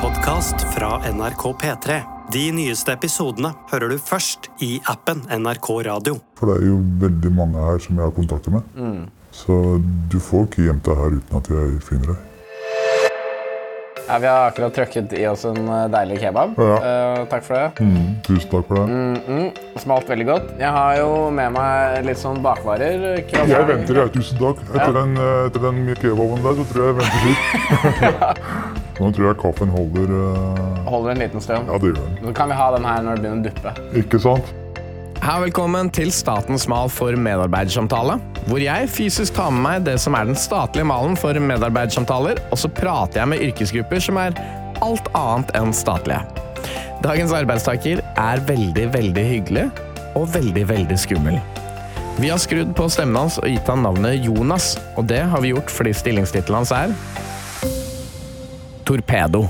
podkast fra NRK P3. De nyeste episodene hører du først i appen NRK Radio. For det er jo veldig mange her som jeg har kontakter med. Så du får ikke gjemt deg her uten at jeg finner deg. Ja, vi har akkurat trøkket i oss en eh, deilig kebab. Ja. Eh, takk for det. Tusen takk for det. Smalt veldig godt. Jeg har jo med meg litt sånn bakvarer. croissant. Jeg venter, jeg. Tusen takk. Etter den, eh, etter den kebaben der, så tror jeg jeg venter litt. Nå tror jeg kaffen holder eh, Holder en liten stund. Ja, det gjør den. Så kan vi ha den her når det begynner å duppe. Ikke sant? Hei og velkommen til Statens mal for medarbeidersamtale, hvor jeg fysisk tar med meg det som er den statlige malen for medarbeidersamtaler, og så prater jeg med yrkesgrupper som er alt annet enn statlige. Dagens arbeidstaker er veldig, veldig hyggelig og veldig, veldig skummel. Vi har skrudd på stemmen hans og gitt han navnet Jonas, og det har vi gjort fordi stillingstittelen hans er Torpedo.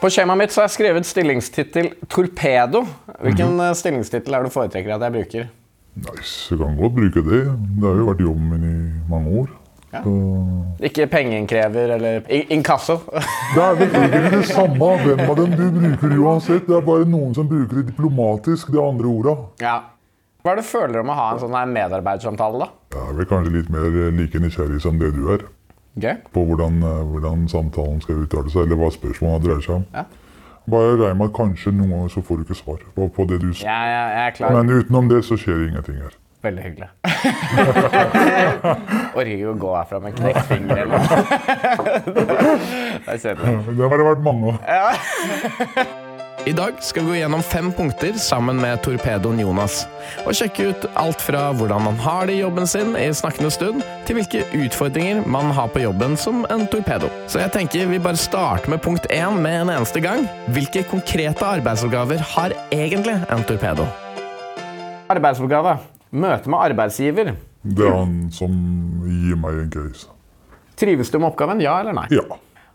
På skjemaet mitt så har jeg skrevet stillingstittel 'torpedo'. Hvilken eh, stillingstittel er det du foretrekker at jeg bruker? Nice. Jeg kan godt bruke det. Det har jo vært jobben min i mange år. Så Ikke pengeinnkrever eller in- inkasso. det er vel egentlig det samme hvem av dem du bruker uansett. Det er bare noen som bruker det diplomatisk, de andre orda. ja. Hva er det du føler om å ha en sånn her medarbeidersamtale, da? Jeg er vel kanskje litt mer eh, like nysgjerrig som det du er. Gøy. på hvordan, eh, hvordan samtalen skal uttale seg, eller hva spørsmålene dreier seg om. Ja. Bare regn med at kanskje noen ganger så får du ikke svar på, på det du spør. Jeg, jeg, jeg er klar. Men utenom det så skjer ingenting her. Veldig hyggelig. Orker ikke å gå herfra med knekt finger eller noe. Det er kjedelig. Det har det vært mange av. I dag skal vi gå gjennom fem punkter sammen med torpedoen Jonas, og sjekke ut alt fra hvordan man har det i jobben sin i snakkende stund, til hvilke utfordringer man har på jobben som en torpedo. Så jeg tenker vi bare starter med punkt én med en eneste gang. Hvilke konkrete arbeidsoppgaver har egentlig en torpedo? Arbeidsoppgave. Møte med arbeidsgiver. Det er han som gir meg en case. Trives du med oppgaven? Ja eller nei? Ja.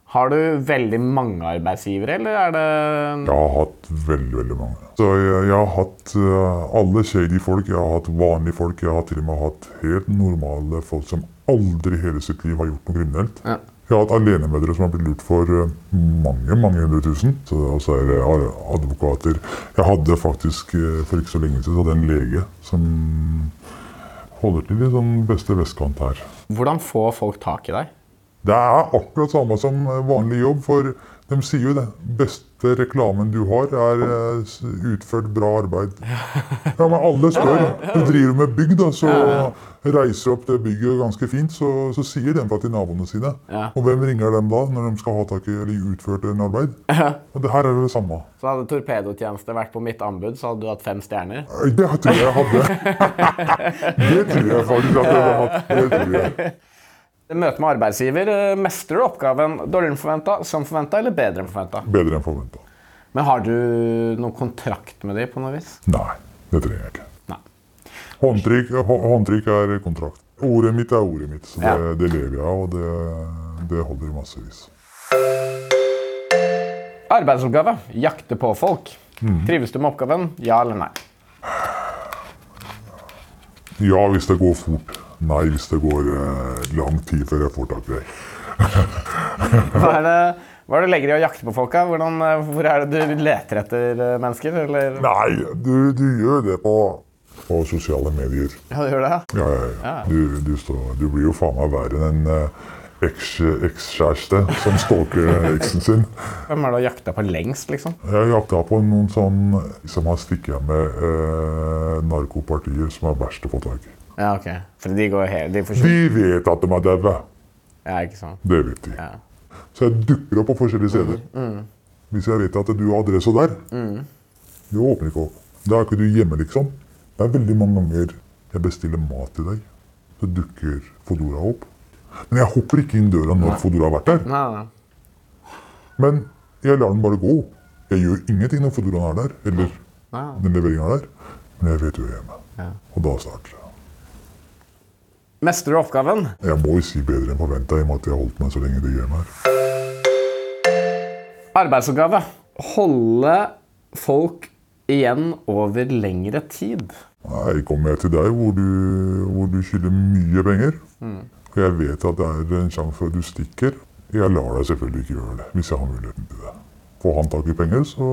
Har du veldig mange arbeidsgivere, eller er det Jeg har hatt veldig, veldig mange. Så jeg, jeg har hatt eh, alle shady folk, jeg har hatt vanlige folk, jeg har til og med hatt helt normale folk som aldri i hele sitt liv har gjort noe kriminelt. Ja. Jeg har hatt alenemødre som har blitt lurt for eh, mange mange hundre tusen. Så- Og så er det ar- advokater. Jeg hadde faktisk eh, for ikke så lenge siden så hadde jeg en lege som holder til i sånn beste vestkant her. Hvordan får folk tak i deg? Det er akkurat samme som eh, vanlig jobb, for de sier jo det. Beste reklamen du har, er eh, s- utført bra arbeid. Ja, men alle spør. Du driver med bygg, da, så reiser opp det bygget ganske fint, så, så sier de fra til naboene sine. Ja. Og hvem ringer dem da, når de skal ha tak i eller utført en arbeid? Og det her er det samme. Så hadde torpedotjeneste vært på mitt anbud, så hadde du hatt fem stjerner. Nei, Det tror jeg jeg hadde. Det tror jeg faktisk at jeg hadde hatt. Det tror jeg. Møte med arbeidsgiver. eh, Mestrer du oppgaven dårligere enn forventa, som forventa eller bedre enn forventa? Bedre enn forventa. Men har du noen kontrakt med dem på noe vis? Nei, det trenger jeg ikke. Nei. Håndtrykk, hå- håndtrykk er kontrakt. Ordet mitt er ordet mitt. Så det, Ja. det lever jeg av, og det, det holder i massevis. Arbeidsoppgave. Jakte på folk. Trives du med oppgaven? Ja eller nei? Ja hvis det går fort. Nei hvis det går eh, lang tid før jeg får tak i deg. Hva er det, hva er det du legger i å jakte på folka? Hvordan, eh, hvor er det du leter etter eh, mennesker? Eller? Nei, du, du gjør det på, på sosiale medier. Ja, du gjør det? ja. Ja, ja, ja. Du, du, står, du blir jo faen meg verre enn en eh, eks- ekskjæreste som stalker eh, eksen sin. Hvem er det du har jakta på lengst, liksom? Jeg jakta på noen sånn som har stikket av med eh, narkopartier som er verst å få tak i. Ja, ok. For de går helt De forsvinner. De vet at de er daue. Ja, ikke sant. Det vet de. Ja. Mhm, Så jeg dukker opp på forskjellige steder. Hvis jeg vet at du har adresse der, Mhm. du åpner ikke opp. Da er ikke du hjemme, liksom. Det er veldig mange ganger jeg bestiller mat til deg, så dukker Fodora opp. Men jeg hopper ikke inn døra når Fodora har vært der. Nei, nei, nei. Men jeg lar den bare gå. Jeg gjør ingenting når Fodoraen er der, eller Nei. den leveringen er der. Men jeg vet jo jeg er hjemme. Ja. Og da starter jeg. Mestrer du oppgaven? Jeg må jo si bedre enn forventa i og med at jeg har holdt meg så lenge i det gamet her. Arbeidsoppgave. Holde folk igjen over lengre tid. Her kommer jeg til deg hvor du, hvor du skylder mye penger. Og jeg vet at det er en sjanse for at du stikker. Jeg lar deg selvfølgelig ikke gjøre det, hvis jeg har muligheten til det. Får han tak i penger, så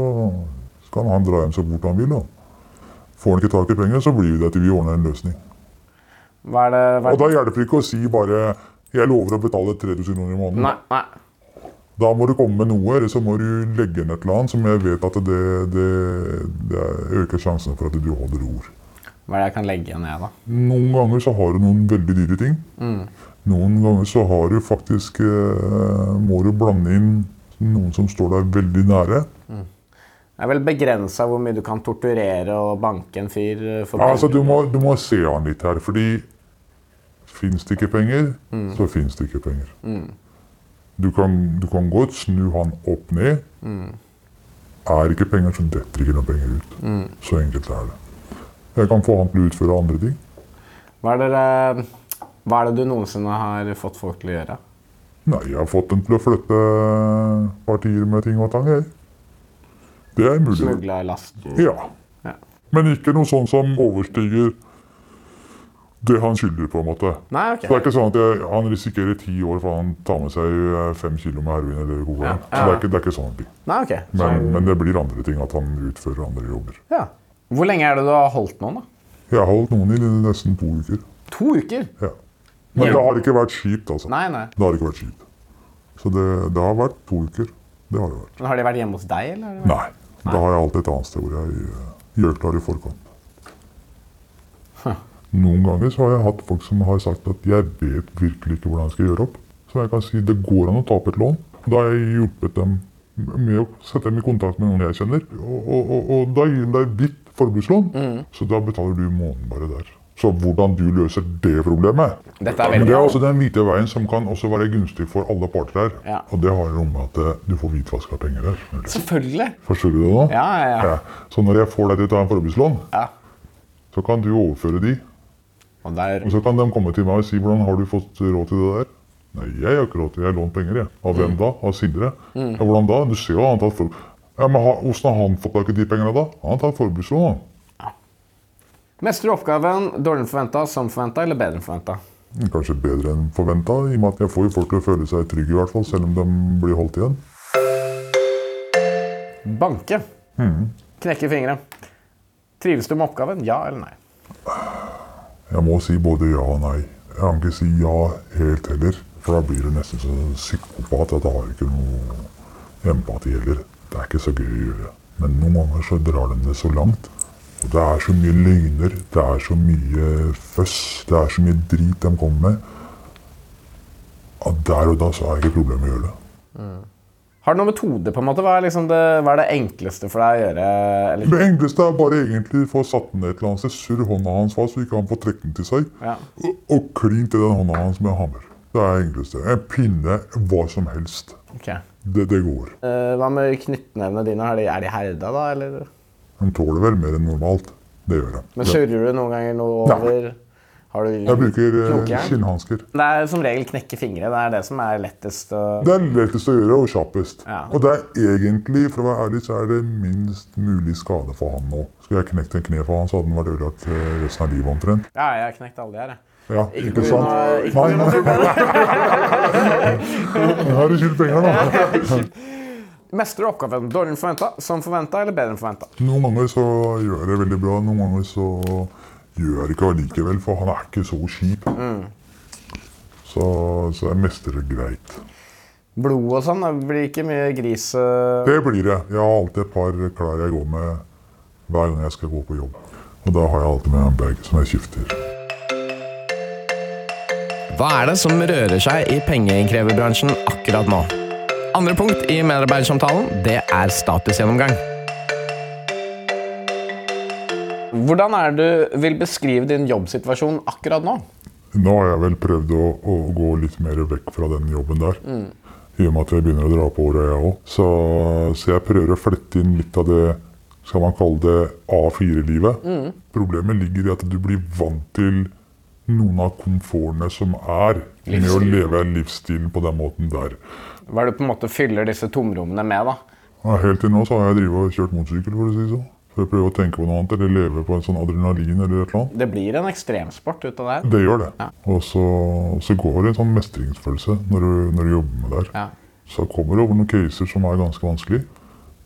skal han dra hjem så fort han vil. Da. Får han ikke tak i penger, så blir det til vi ordner en løsning. Hva er det Og hva er det? da hjelper det ikke å si bare 'jeg lover å betale 3000 kroner i måneden'. Nei, nei. Da må du komme med noe, eller så må du legge inn et eller annet som jeg vet at det, det, det øker sjansen for at du holder ord. Hva er det jeg kan legge igjen, jeg, da? Noen ganger så har du noen veldig dyre ting. Noen ganger så har du faktisk eh, Må du blande inn noen som står deg veldig nære. Det er vel begrensa hvor mye du kan torturere og banke en fyr eh, for Altså, du må, du må se an litt her, fordi fins det ikke penger, så fins det ikke penger. Du, kan, du kan godt snu han opp ned. Er det ikke penger, så detter ikke noen penger ut. Så enkelt er det. Jeg kan få han til å utføre andre ting. Hva er, det, eh, hva er det du noensinne har fått folk til å gjøre? Nei, jeg har fått dem til å flytte partier med ting og tang. jeg. Det er mulig. Smugla last? Ja. Ja. Men ikke noe sånn som overstiger det han skylder, på en måte. Nei, Så det er ok. ikke sånn at jeg, han risikerer ti år for han tar med seg eh, fem kilo med heroin eller coca. Ja. Så det er ikke, det er ikke sånn det blir. Nei, ok. Så, Men, men det blir andre ting, at han utfører andre jobber. ja. Hvor lenge er det du har holdt noen, da? Jeg har holdt noen i nesten to uker. To uker? Ja. Men det har ikke vært kjipt, altså. Nei, nei. Det har ikke vært kjipt. Så det, det har vært to uker. Det har det vært. Men Har de vært hjemme hos deg, eller? Nei. Da har jeg alltid et annet sted hvor jeg eh, gjør klar i forkant. Noen ganger så har jeg hatt folk som har sagt at jeg vet virkelig ikke hvordan jeg skal gjøre opp. Så jeg kan si det går an å tape et lån. Da har jeg hjulpet dem med å sette dem i kontakt med noen jeg kjenner. Og, og, og, og da gir de deg ditt forbrukslån, Mm. så da betaler du i måneden bare der. Så hvordan du løser det problemet Dette er Men veldig det er også den hvite veien som kan også være gunstig for alle parter her. Ja. Og det har noe med at eh, du får hvitvaska penger der. selvfølgelig. Selvfølgelig. Forstår du det nå? Ja, ja, ja. Så når jeg får deg til å ta en forbrukslån, ja. så kan du overføre de. Og der, Og så kan de komme til meg og si hvordan har du fått råd til det der? Nei, jeg har ikke råd til det. Jeg har lånt penger, jeg. Av Mm. hvem da? Av Sindre? Ja, hvordan da? Du ser jo han har tatt for... Ja, men har- Hvordan har han fått tak i de pengene da? Han har tatt forbrukslån, han. Mestrer du oppgaven dårligere enn forventa, som forventa eller bedre enn forventa? Kanskje bedre enn forventa, i og med at jeg får jo folk til å føle seg trygge, i hvert fall, selv om de blir holdt igjen. Banke. Mm. Knekke fingre. Trives du med oppgaven? Ja eller nei? Jeg må si både ja og nei. Jeg kan ikke si ja helt heller, for da blir du nesten så psykopat at jeg har ikke noe empati heller. Det er ikke så gøy å gjøre. Men noen ganger så drar den det så langt. Og det er så mye løgner, det er så mye føss, det er så mye drit de kommer med. At der og da så er det ikke problem å gjøre det. Har du noen metode? på en måte? Hva er, liksom det, hva er det enkleste for deg å gjøre? Eller, Det enkleste er bare egentlig å få satt den ned et eller annet sted, surr hånda hans fast, så ikke han får trekke den til seg. ja. Og- Og klin til den hånda hans med hammer. Det er det enkleste. En pinne, hva som helst. ok. Det, det går. Eh, hva med knyttnevene dine? Er de, er de herda, da? eller? De tåler vel mer enn normalt. Det gjør de. Men surrer du noen ganger noe over? Har du Jeg bruker eh, Knokkjern? skinnhansker. Det er som regel knekke fingre. Det er det som er lettest å Det er lettest å gjøre og kjappest. Ja. Og det er egentlig, for å være ærlig, så er det minst mulig skade for han nå. Skulle jeg knekt en kne for han, så hadde han vært ødelagt eh, resten av livet omtrent. Ja, jeg har knekt alle de her, jeg. Ja, Ikke ikke på grunn av- sant? ikke Nei, på grunn av nei. Nå har du skyldt penger, da. Mestrer du oppgaven dårligere enn forventa, som forventa eller bedre enn forventa? Noen ganger så gjør jeg det veldig bra, noen ganger så gjør jeg det ikke allikevel, for han er ikke så kjip. Mm. Så, så jeg mestrer det greit. Blod og sånn, det blir ikke mye gris eh, Det blir det. Jeg har alltid et par klær jeg går med hver gang jeg skal gå på jobb. Og da har jeg alltid med en bag som jeg skifter. Hva er det som rører seg i pengeinnkreverbransjen akkurat nå? Andre punkt i medarbeidersamtalen, det er statusgjennomgang. Hvordan er det du vil beskrive din jobbsituasjon akkurat nå? Nå har jeg vel prøvd å, å gå litt mer vekk fra den jobben der. I og med at jeg begynner å dra på året, jeg òg. Så, så jeg prøver å flette inn litt av det skal man kalle det A4-livet. Problemet ligger i at du blir vant til noen av komfortene som er med å leve livsstilen på den måten der. Hva er det du på en måte fyller disse tomrommene med, da? Ja, Helt til nå så har jeg drivet og kjørt motorsykkel, for å si det sånn. For å prøve å tenke på noe annet, eller leve på en sånn adrenalin eller et eller annet. Det blir en ekstremsport ut av det her. Det gjør det. Og så, så går det en sånn mestringsfølelse når du, når du jobber med det her. Ja. Så kommer det over noen caser som er ganske vanskelig,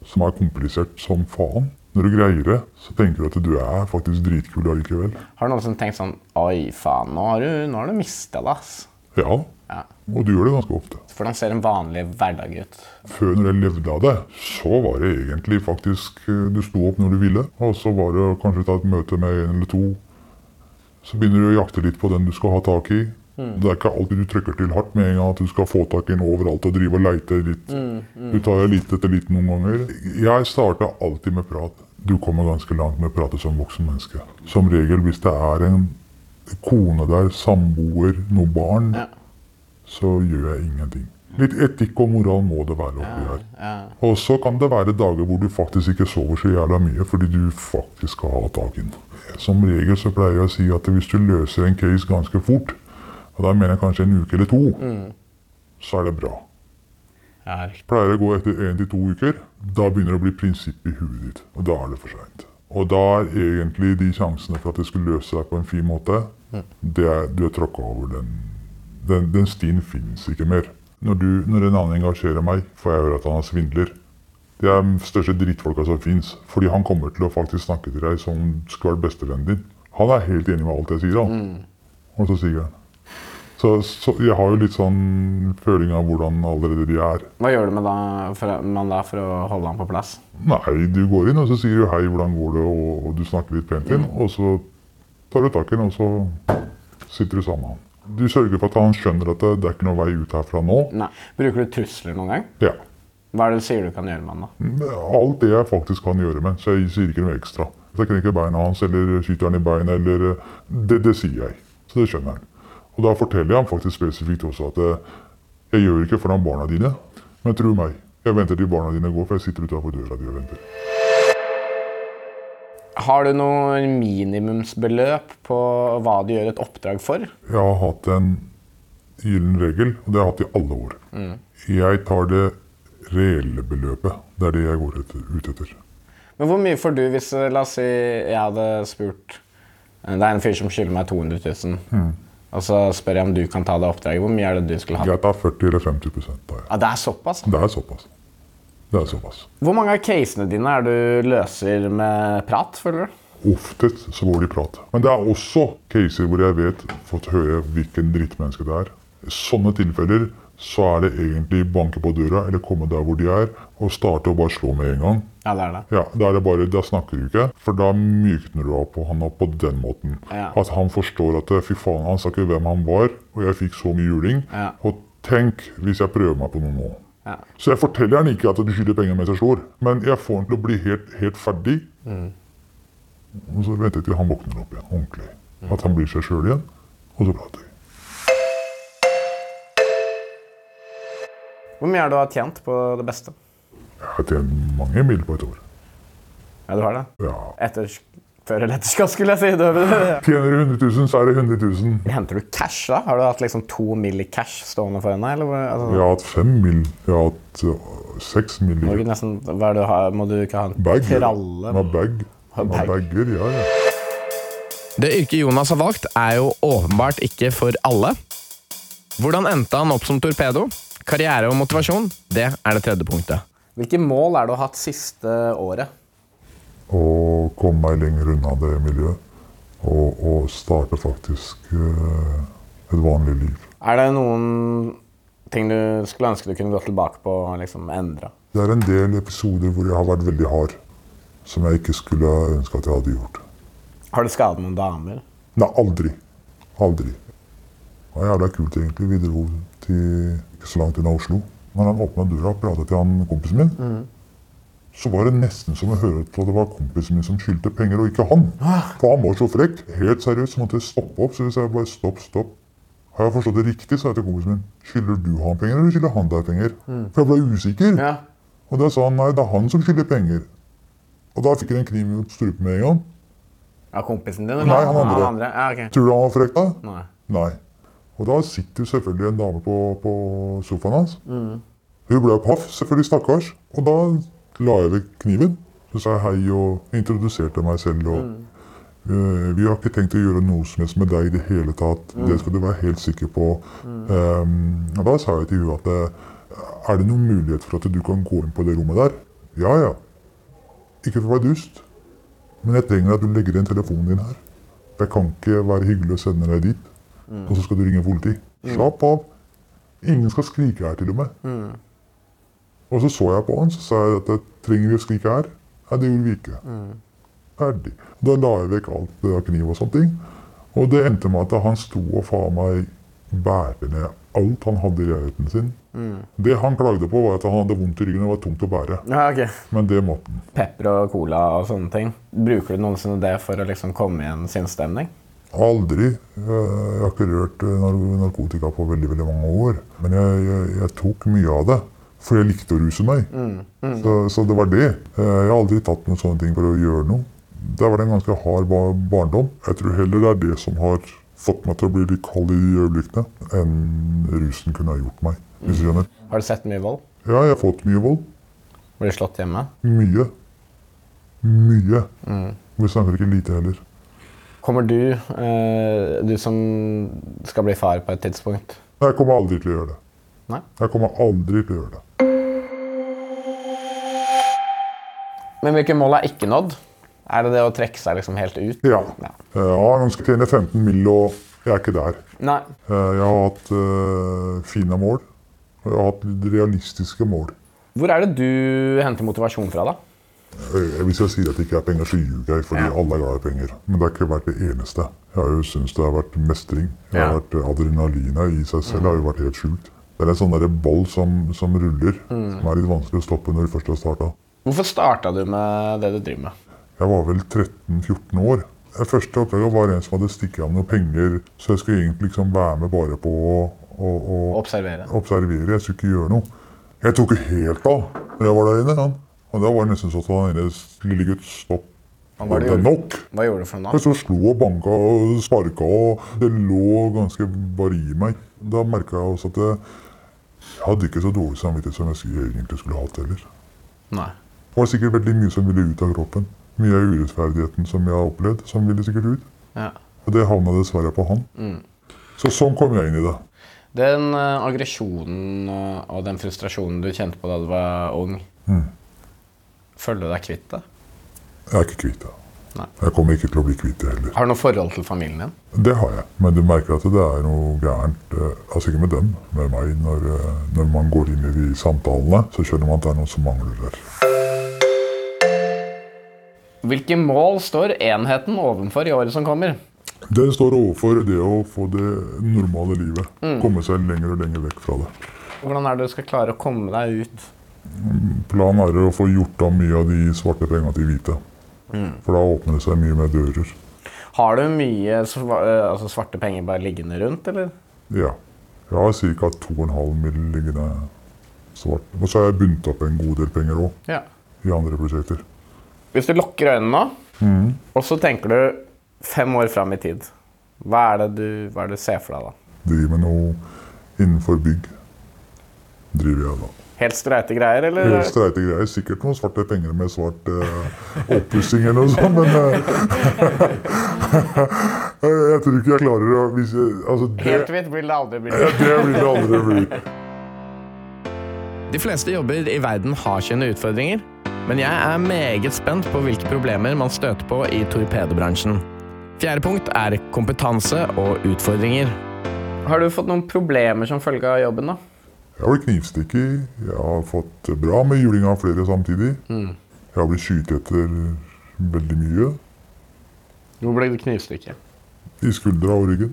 som er komplisert som faen. Når du greier det, så tenker du at du er faktisk dritkul allikevel. Har du noensinne tenkt sånn Oi, faen, nå har du, nå har du mista det, ass. Ja, Ja. og du gjør det ganske ofte. Hvordan ser en vanlig hverdag ut? Før når jeg levde av det, så var det egentlig faktisk eh, Du sto opp når du ville, og så var det å kanskje ta et møte med en eller to. Så begynner du å jakte litt på den du skal ha tak i. Det er ikke alltid du trykker til hardt med en gang at du skal få tak i en overalt og drive og leite litt. Du tar litt etter litt noen ganger. Jeg starta alltid med prat. Du kommer ganske langt med å prate som voksen menneske. Som regel hvis det er en kone der, samboer, noen barn, Ja. så gjør jeg ingenting. Litt etikk og moral må det være oppi her. Ja. Og så kan det være dager hvor du faktisk ikke sover så jævla mye fordi du faktisk skal ha dagen. Som regel så pleier jeg å si at hvis du løser en case ganske fort, og da mener jeg kanskje en uke eller to, Mm. så er det bra. Ja, riktig. Pleier det å gå etter én til to uker, da begynner det å bli prinsipp i huet ditt. Og da er det for seint. Og da er egentlig de sjansene for at det skulle løse deg på en fin måte, det er, du er tråkka over den. Den, den stien fins ikke mer. Når, du, når en annen engasjerer meg, får jeg høre at han er svindler. Det er de største drittfolka som fins. Fordi han kommer til å faktisk snakke til deg som om du skulle vært bestevennen din. Han er helt enig med alt jeg sier, han. Og så sier han. Så, så jeg har jo litt sånn føling av hvordan allerede de er. Hva gjør du med da for, man da for å holde han på plass? Nei, du går inn og så sier du hei, hvordan går det, og, og du snakker litt pent inn. Og så tar du tak i den, og så sitter du sammen med han. Du sørger for at han skjønner at det, det er ikke noe vei ut herfra nå. Nei. Bruker du trusler noen gang? Ja. Hva er det du sier du kan gjøre med han da? Alt det jeg faktisk kan gjøre med, så jeg sier ikke noe ekstra. Hvis jeg knekker beina hans, eller skyter han i beina, eller eh, det, det sier jeg. Så det skjønner han. Og da forteller jeg ham faktisk spesifikt også at eh, jeg gjør ikke foran barna dine, men tro meg, jeg venter til barna dine går, for jeg sitter utafor døra di og venter. Har du noe minimumsbeløp på hva du gjør et oppdrag for? Jeg har hatt en gyllen regel, og det har jeg hatt i alle år. Jeg tar det reelle beløpet. Det er det jeg går etter, ut etter. Men hvor mye får du hvis eh, La oss si jeg hadde spurt eh, Det er en fyr som skylder meg 200 000. Og så spør jeg om du kan ta det oppdraget. Hvor mye er det du skulle hatt? Jeg tar 40 eller 50 prosent av det. Ja, det er såpass. Det er såpass. Det er såpass. Hvor mange av casene dine er du løser med prat, føler du? Oftest så går det i prat. Men det er også caser hvor jeg vet, fått høre hvilken drittmenneske det er. I sånne tilfeller så er det egentlig banke på døra, eller komme der hvor de er, og starte å bare slå med en gang. Ja, det er det. Ja, da er det bare, da snakker du ikke, for da mykner du opp på han opp på den måten. Ja. At han forstår at eh, fy faen, han sa ikke hvem han var, og jeg fikk så mye juling. Ja. Og tenk hvis jeg prøver meg på noe nå. Ja. Så jeg forteller han ikke at du skylder penger mens jeg slår, men jeg får han til å bli helt, helt ferdig. Mm. Og så venter jeg til han våkner opp igjen, ordentlig. Mm. At han blir seg sjøl igjen, og så prater vi. Hvor mye er det du har tjent på det beste? Jeg har tjent mange mil på et år. Ja, du har det. Ja. Etter, før eller etter skatt, skulle jeg si. Du, Tjener du 100 000, så er det 100 000. henter du cash, da? Har du hatt liksom to mill. i cash stående foran deg? Eller? hvor- Altså, Jeg har hatt fem mil. Jeg har hatt øh, seks mil. Må, du ikke nesten, hva er det du har, må du ikke ha en Bag. tralle? Med bag. Ha Med bag. bagger, ja, ja. Det yrket Jonas har valgt, er jo åpenbart ikke for alle. Hvordan endte han opp som torpedo? Karriere og motivasjon, det er det tredje punktet. Hvilke mål er det du har hatt siste året? Og komme meg lenger unna det miljøet. Og, og starte faktisk øh, et vanlig liv. Er det noen ting du skulle ønske du kunne gå tilbake på og liksom endre? Det er en del episoder hvor jeg har vært veldig hard. Som jeg ikke skulle ønske at jeg hadde gjort. Har du skadet noen damer? Nei, aldri. Aldri. Det var jævla kult, egentlig. Vi dro til ikke så langt unna Oslo. Når han åpna døra og prata til han kompisen min, så var det nesten som å høre at det var kompisen min som skyldte penger, og ikke han. For han var så frekk. Helt seriøst, så måtte jeg stoppe opp. Så hvis jeg bare stopp, stopp. Har jeg forstått det riktig, sa jeg til kompisen min. Skylder du han penger, eller skylder han deg penger? For jeg ble usikker. Ja. Og da sa han nei, det er han som skylder penger. Og da fikk jeg en kniv mot strupen med en gang. Av kompisen din? eller? Nei, han Av andre. Ja, ok. Tror du han var frekk da? Nei. Nei. Og da sitter jo selvfølgelig en dame på, på sofaen hans. Hun ble jo paff, selvfølgelig, stakkars. Og da la jeg vekk kniven Så sa jeg hei og introduserte meg selv. og eh, Vi har ikke tenkt å gjøre noe som helst med deg i det hele tatt. Det skal du være helt sikker på. Eh, og da sa jeg til hun at eh, er det noen mulighet for at du kan gå inn på det rommet der? Ja ja. Ikke for å være dust, men jeg trenger at du legger igjen telefonen din her. Jeg kan ikke være hyggelig og sende deg dit. Og så skal du ringe politi. Slapp av. Ingen skal skrike her, til og med. Og så så jeg på han, så sa jeg at trenger vi å skrike her? Nei, det gjorde vi ikke. Ferdig. Da la jeg vekk alt av kniv og sånne ting. Og det endte med at han sto og faen meg bærte ned alt han hadde i leiligheten sin. Det han klagde på, var at han hadde vondt i ryggen og det var tungt å bære. Ja, ok. Men det måtte han. Pepper og cola og sånne ting. Bruker du noensinne det for å liksom komme i en sinnsstemning? Aldri. Eh, Jeg har ikke rørt eh, nar- narkotika på veldig veldig mange år. Men jeg, jeg, jeg tok mye av det, for jeg likte å ruse meg. Så, så det var det. Eh, Jeg har aldri tatt noen sånne ting for å gjøre noe. Det var en ganske hard ba- barndom. Jeg tror heller det er det som har fått meg til å bli litt kald i de øyeblikkene, enn rusen kunne ha gjort meg. Hvis du skjønner. Har du sett mye vold? Ja, jeg har fått mye vold. Blir slått hjemme? Mye. Mye. Vi snakker ikke lite heller. Kommer du, eh, du som skal bli far på et tidspunkt Jeg kommer aldri til å gjøre det. Nei? Jeg kommer aldri til å gjøre det. Men hvilke mål er ikke nådd? Er det det å trekke seg liksom helt ut? Ja. Ja. Eh, Jeg har ønsket å tjene 15 mill., og jeg er ikke der. Nei. Eh, Jeg har hatt eh, fine mål. og Jeg har hatt litt realistiske mål. Hvor er det du henter motivasjon fra, da? Eh, Hvis jeg sier at det ikke er penger, så ljuger jeg, fordi Ja. alle er glad i penger. Men det har ikke vært det eneste. Jeg har jo syntes det har vært mestring. Det har Ja. Mm. vært eh, Adrenalinet i seg selv har jo vært helt sjukt. Det er en sånn der ball som, som ruller, Mm. som er litt vanskelig å stoppe når du først har starta. Hvorfor starta du med det du driver med? Jeg var vel 13-14 år. Det første oppdraget var en som hadde stikket av noen penger, så jeg skulle egentlig liksom være med bare på å, å, å Observere. observere. Jeg skulle ikke gjøre noe. Jeg tok jo helt av når jeg var der inne. Han. Og da var det nesten sånn at han ene lille gutt stopp. Han var Var det det jo- nok? Hva gjorde du for noe? Jeg så slo og banka og sparka, og det lå ganske bare i meg. Da merka jeg også at jeg, jeg hadde ikke så dårlig samvittighet som jeg skulle- egentlig skulle hatt heller. Nei. Det var sikkert veldig mye som ville ut av kroppen. Mye av urettferdigheten som jeg har opplevd, som ville sikkert ut. Ja. Og det havna dessverre på han. Så sånn kom jeg inn i det. Den eh, aggresjonen eh, og den frustrasjonen du kjente på da du var ung, føler du deg kvitt det? Jeg er ikke kvitt det. Nei. Jeg kommer ikke til å bli kvitt det heller. Har du noe forhold til familien din? Det har jeg. Men du merker at det er noe gærent eh, Altså ikke med dem, med meg. Når, eh, når man går inn i de samtalene, så skjønner man at det er noe som mangler der. Hvilke mål står enheten ovenfor i året som kommer? Den står overfor det å få det normale livet. Komme seg lenger og lenger vekk fra det. Hvordan er det du skal klare å komme deg ut? Planen er å få gjort av mye av de svarte penga til hvite. For da åpner det seg mye mer dører. Har du mye sva eh, altså svarte penger bare liggende rundt, eller? Ja. Jeg har ca. 2,5 mill. liggende svart. Og så har jeg bundet opp en god del penger òg, Ja. i andre prosjekter. Hvis du lukker øynene nå, og så tenker du fem år fram i tid, hva er det du, hva er det du ser for deg da? Driver med noe innenfor bygg. Driver jeg da. Helt streite greier, eller? Helt streite greier. Sikkert noen svarte penger med svart eh, oppussing eller noe sånt, men eh, Jeg tror ikke jeg klarer å hvis jeg, altså, det, Helt hvitt vil det aldri bli. det vil det aldri bli. De fleste jobber i verden har sine utfordringer, men jeg er meget spent på hvilke problemer man støter på i torpedobransjen. Fjerde punkt er kompetanse og utfordringer. Har du fått noen problemer som følge av jobben, da? Jeg har blitt knivstukket. Jeg har fått bra med juling av flere samtidig. Jeg har blitt skutt etter veldig mye. Hvor ble det knivstukket? I skuldra og ryggen.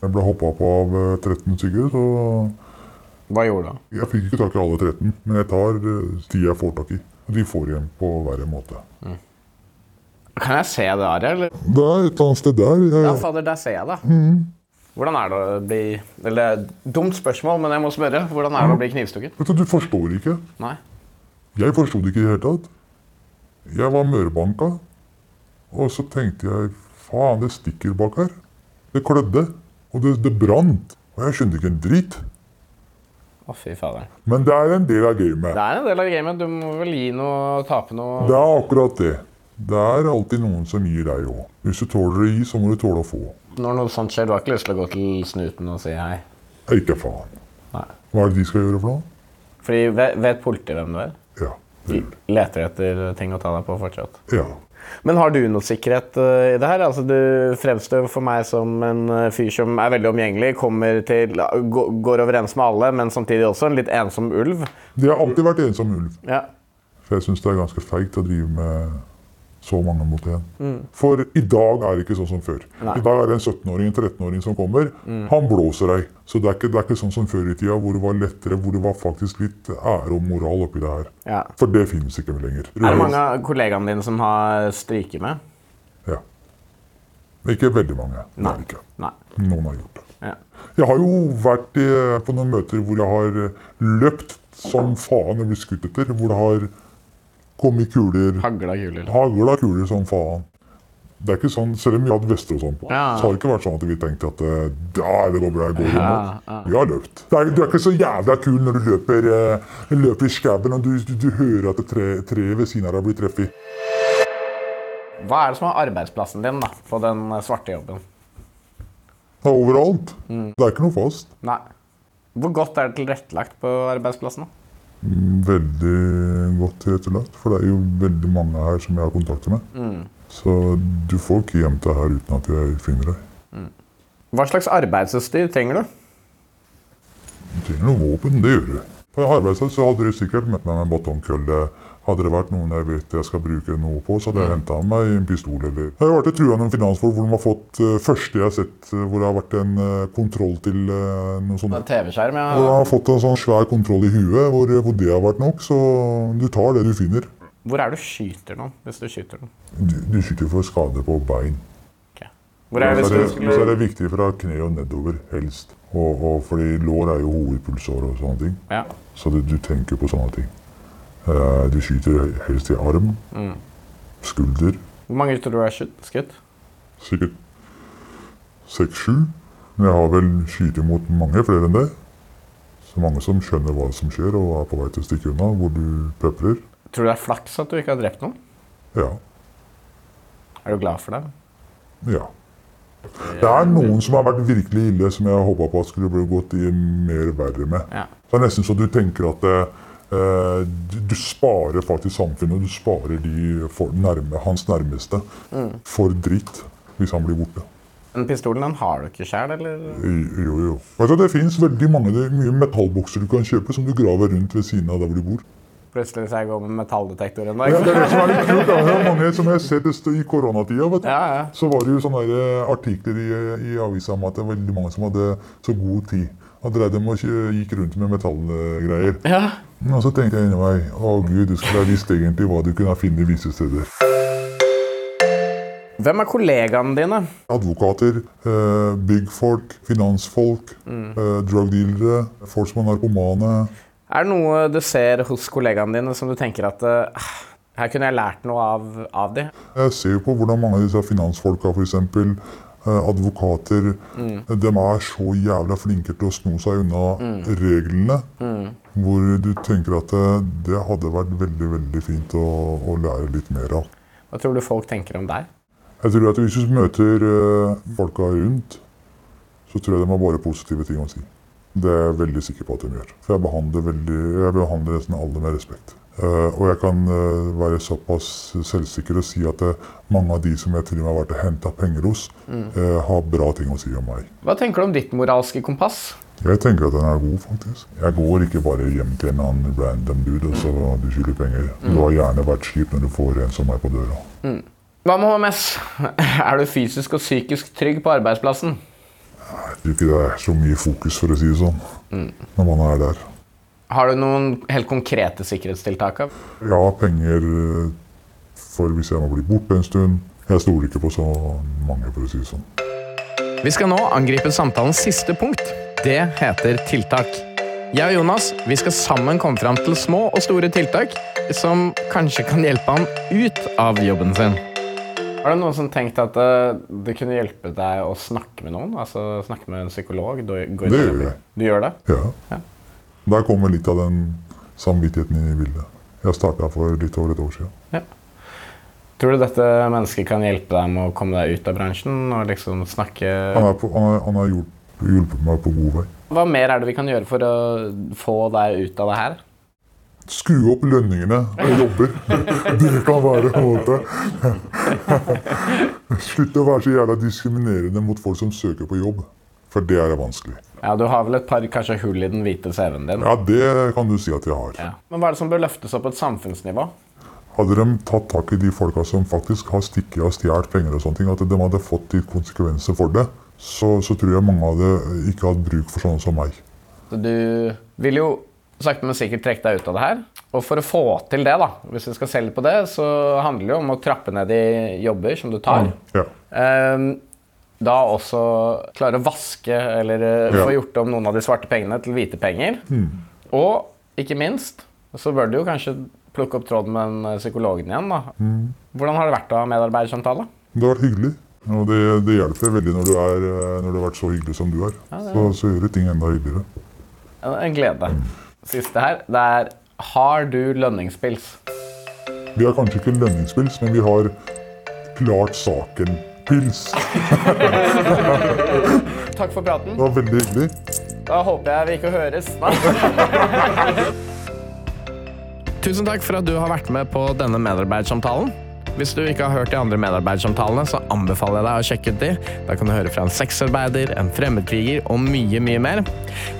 Jeg ble hoppa på av eh, 13 stykker, så Hva gjorde du? jeg fikk ikke tak i alle 13. Men jeg tar eh, de jeg får tak i. Og de får igjen på verre måte. Kan jeg se det, Ari? Eller? Det er et eller annet sted der. Ja, Jeg, fader, der ser jeg det. Hvordan er det å bli Eller dumt spørsmål, men jeg må spørre. Hvordan er det å bli knivstukket? vet du, du forstår ikke. Nei. Jeg forsto det ikke i det hele tatt. Jeg var mørebanka, og så tenkte jeg faen, det stikker bak her. Det klødde, og det, det brant. Og jeg skjønte ikke en drit. Å, fy fader. Men det er en del av gamet. Det er en del av gamet. Du må vel gi noe og tape noe. Det er akkurat det. Det er alltid noen som gir deg òg. Hvis du tåler å gi, så må du tåle å få. Når noe sånt skjer, du har ikke lyst til å gå til snuten og si hei. Ikke faen. Nei. Hva er det de skal gjøre for noe? Fordi vet, vet politiet hvem du er? Ja. De Det, leter etter ting å ta deg på fortsatt. ja. Men har du noe sikkerhet eh, i det her? Altså, du fremstår for meg som en eh, fyr som er veldig omgjengelig, kommer til, gå- går overens med alle, men samtidig også en litt ensom ulv. De har alltid vært ensom ulv. Ja. For jeg syns det er ganske feigt å drive med så mange mot én. For i dag er det ikke sånn som før. Mm. Nei. Mm. I dag er det en 17-åring en 13-åring som kommer. Han blåser deg. Så det er, ikke, det er ikke sånn som før i tida, hvor det var lettere, hvor det var faktisk litt ære og moral oppi det her. ja. For det finnes ikke lenger. Er det mange av kollegaene dine som har stryket med? Ja. Ikke veldig mange. Det Nei. er det ikke. Nei. Noen har gjort det. Ja. Jeg har jo vært i, på noen møter hvor jeg har eh, løpt som faen og blitt skutt etter. Hvor det har kommet kuler. Hagla kuler. Hagla kuler som faen. Det er ikke sånn, Selv om vi har hatt vester og sånn, på, Ja. så har det ikke vært sånn at vi tenkte at eh, ja, det går bra, jeg går Ja, imot. Vi har løpt. Det er, du er ikke så jævla kul når du løper, eh, løper i skauen og du, du, du hører at det tre, treet ved siden av deg blir treffet. Hva er det som er arbeidsplassen din da, på den eh, svarte jobben? Det er overalt. Mm. Det er ikke noe fast. Nei. Hvor godt er det tilrettelagt på arbeidsplassen? da? Mm, Veldig godt tilrettelagt, for det er jo veldig mange her som jeg har kontakt med. Mm. Så du får ikke gjemt deg her uten at jeg finner deg. Hva slags arbeidsutstyr trenger du? Du trenger noe våpen, det gjør du. På en arbeidsplass så hadde du sikkert med meg en batongkølle. Hadde det vært noen jeg vet jeg skal bruke noe på, så Mm. hadde jeg henta meg en pistol eller Jeg har vært i trua noen finansfolk hvor de har fått eh, første jeg har sett eh, hvor det har vært en eh, kontroll til eh, noe sånt. En TV-skjerm, Hvor jeg ja. har fått en sånn svær kontroll i huet hvor, eh, hvor det har vært nok, så du tar det du finner. Hvor er det du skyter noen, hvis du skyter noen? Du, du skyter for skade på bein. Ok. Hvor er det, Og så er, hvis det, du så er skulle... det viktig fra kne og nedover, helst. Og, og fordi lår er jo hovedpulsår og sånne ting. Ja. Så du, du tenker på sånne ting. Eh, du skyter helst i arm, skulder, Hvor mange tror du er skutt? skutt? sikkert seks-sju. Men jeg har vel skutt mot mange flere enn det. Så mange som skjønner hva som skjer og er på vei til å stikke unna, hvor du peprer. Tror du det er flaks at du ikke har drept noen? Ja. Er du glad for det? Ja. Det er noen som har vært virkelig ille, som jeg håpa på at skulle bli gått i mer verre med. Ja. Det er nesten så du tenker at eh, du, du sparer faktisk samfunnet. Du sparer de for nærme, hans nærmeste for dritt hvis han blir borte. Den pistolen den har du ikke sjøl, eller? I- Jo, jo. Vet du, det fins veldig mange det er mye metallbokser du kan kjøpe som du graver rundt ved siden av der hvor du bor. Plutselig så jeg går med metalldetektor en Ja, dag. det er det som er litt kult. da. Det er mange som jeg har sett det stå i koronatida. vet du. Ja, ja. Så var det jo sånne der eh, artikler i, i avisa om at det var veldig mange som hadde så god tid. At dreide dem og kjø- gikk rundt med metallgreier. Ja. Og så tenkte jeg inni meg å gud, du skulle ha visst egentlig hva du kunne ha funnet visse steder. Hvem er kollegaene dine? Advokater, eh, byggfolk, finansfolk, eh, drugdealere, folk som er narkomane. Er det noe du ser hos kollegaene dine som du tenker at eh, her kunne jeg lært noe av, av de? Jeg ser jo på hvordan mange av disse finansfolka, f.eks. Advokater. De er så jævla flinke til å sno seg unna reglene. Hmm. Hvor du tenker at det, det hadde vært veldig veldig fint å, å lære litt mer av. Hva tror du folk tenker om deg? Jeg tror at Hvis du møter eh, folka rundt, så tror jeg de har bare positive ting å si. Det er jeg veldig sikker på at de gjør. For jeg behandler, veldig, jeg behandler nesten alle med respekt. Eh, og jeg kan eh, være såpass selvsikker og si at eh, mange av de som jeg til og med har vært og henta penger hos, eh, har bra ting å si om meg. Hva tenker du om ditt moralske kompass? Jeg tenker at den er god, faktisk. Jeg går ikke bare hjem til en annen random dude og så du skylder penger. Du har gjerne vært kjip når du får en som meg på døra. Hva med HMS? Er du fysisk og psykisk trygg på arbeidsplassen? Jeg tror ikke det er så mye fokus, for å si det sånn, når man er der. Har du noen helt konkrete sikkerhetstiltak? av? Jeg har penger eh, for hvis jeg må bli borte en stund. Jeg stoler ikke på så mange, for å si det sånn. Vi skal nå angripe samtalens siste punkt. Det heter tiltak. Jeg og Jonas vi skal sammen komme fram til små og store tiltak som kanskje kan hjelpe han ut av jobben sin. Har du noen som tenkt at eh, det kunne hjelpe deg å snakke med noen? Altså snakke med en psykolog? Du, gå i Det gjør terapi? jeg. Du gjør det? Ja. Der kommer litt av den samvittigheten i bildet. Jeg starta for litt over et år siden. Tror du dette mennesket kan hjelpe deg med å komme deg ut av bransjen og liksom snakke Han, er på, han, er, han har hjulpet, hjulpet meg på god vei. Hva mer er det vi kan gjøre for å få deg ut av det her? Skru opp lønningene og jobber. Det kan være en måte. Slutt å være så jævla diskriminerende mot folk som søker på jobb. For det er vanskelig. Ja, Du har vel et par kanskje hull i den hvite CV-en din? Ja, det kan du si at jeg har. Ja. Men hva er det som bør løftes opp på et samfunnsnivå? Hadde de tatt tak i de folka som faktisk har stikket og stjålet penger, og sånne ting, at de hadde fått litt konsekvenser for det, så, så tror jeg mange hadde ikke hatt bruk for sånne som meg. Så Du vil jo sakte, men sikkert trekke deg ut av det her. Og for å få til det, da, hvis vi skal se litt på det, så handler det jo om å trappe ned i jobber som du tar. Ja. Ehm, da også klare å vaske eller eh, Ja. få gjort om noen av de svarte pengene til hvite penger. Og ikke minst så bør du jo kanskje plukke opp tråden med den eh, psykologen igjen. da. Hvordan har det vært å ha medarbeidersamtale? Det har vært hyggelig. Og det, det hjelper veldig når du, er, eh, når du har vært så hyggelig som du er. Så, så gjør du ting enda hyggeligere. En en glede. Siste her, det er Har du lønningspils? Vi har kanskje ikke lønningspils, men vi har klart saken-pils. Takk for praten. Det var veldig hyggelig. Da håper jeg vi ikke høres. Nei. Tusen takk for at du har vært med på denne medarbeidersamtalen. Hvis du ikke har hørt de andre medarbeidersamtalene, så anbefaler jeg deg å sjekke ut de. Da kan du høre fra en sexarbeider, en fremmedkriger og mye, mye mer.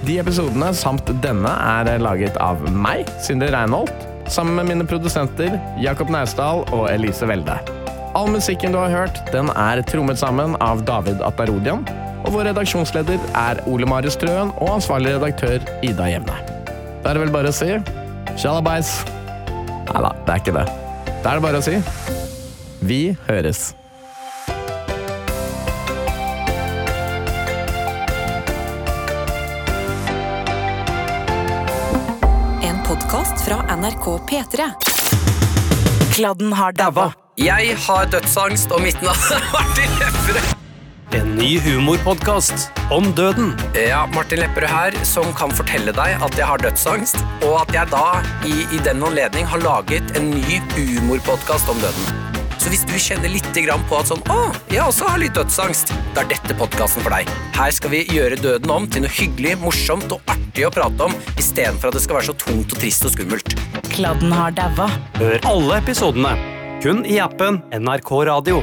De episodene samt denne er laget av meg, Sindre Reinholt, sammen med mine produsenter Jakob Naustdal og Elise Welde. All musikken du har hørt, den er trommet sammen av David Atarodian, og vår redaksjonsleder er Ole Marius Trøen og ansvarlig redaktør Ida Jevne. Da er det vel bare å si Sjalabais. Nei da, det er ikke det. Da er det bare å si Vi høres. En podkast fra NRK P3. Kladden har daua. Jeg har dødsangst, og mitt navn er Martin Lepperød. En ny humorpodkast om døden. Ja, Martin Lepperød her, som kan fortelle deg at jeg har dødsangst, og at jeg da i, i den anledning har laget en ny humorpodkast om døden. Så hvis du kjenner litt grann på at sånn, å, jeg også har litt dødsangst, da er dette podkasten for deg. Her skal vi gjøre døden om til noe hyggelig, morsomt og artig å prate om, istedenfor at det skal være så tungt og trist og skummelt. Kladden har daua. Hør alle episodene kun i appen NRK Radio.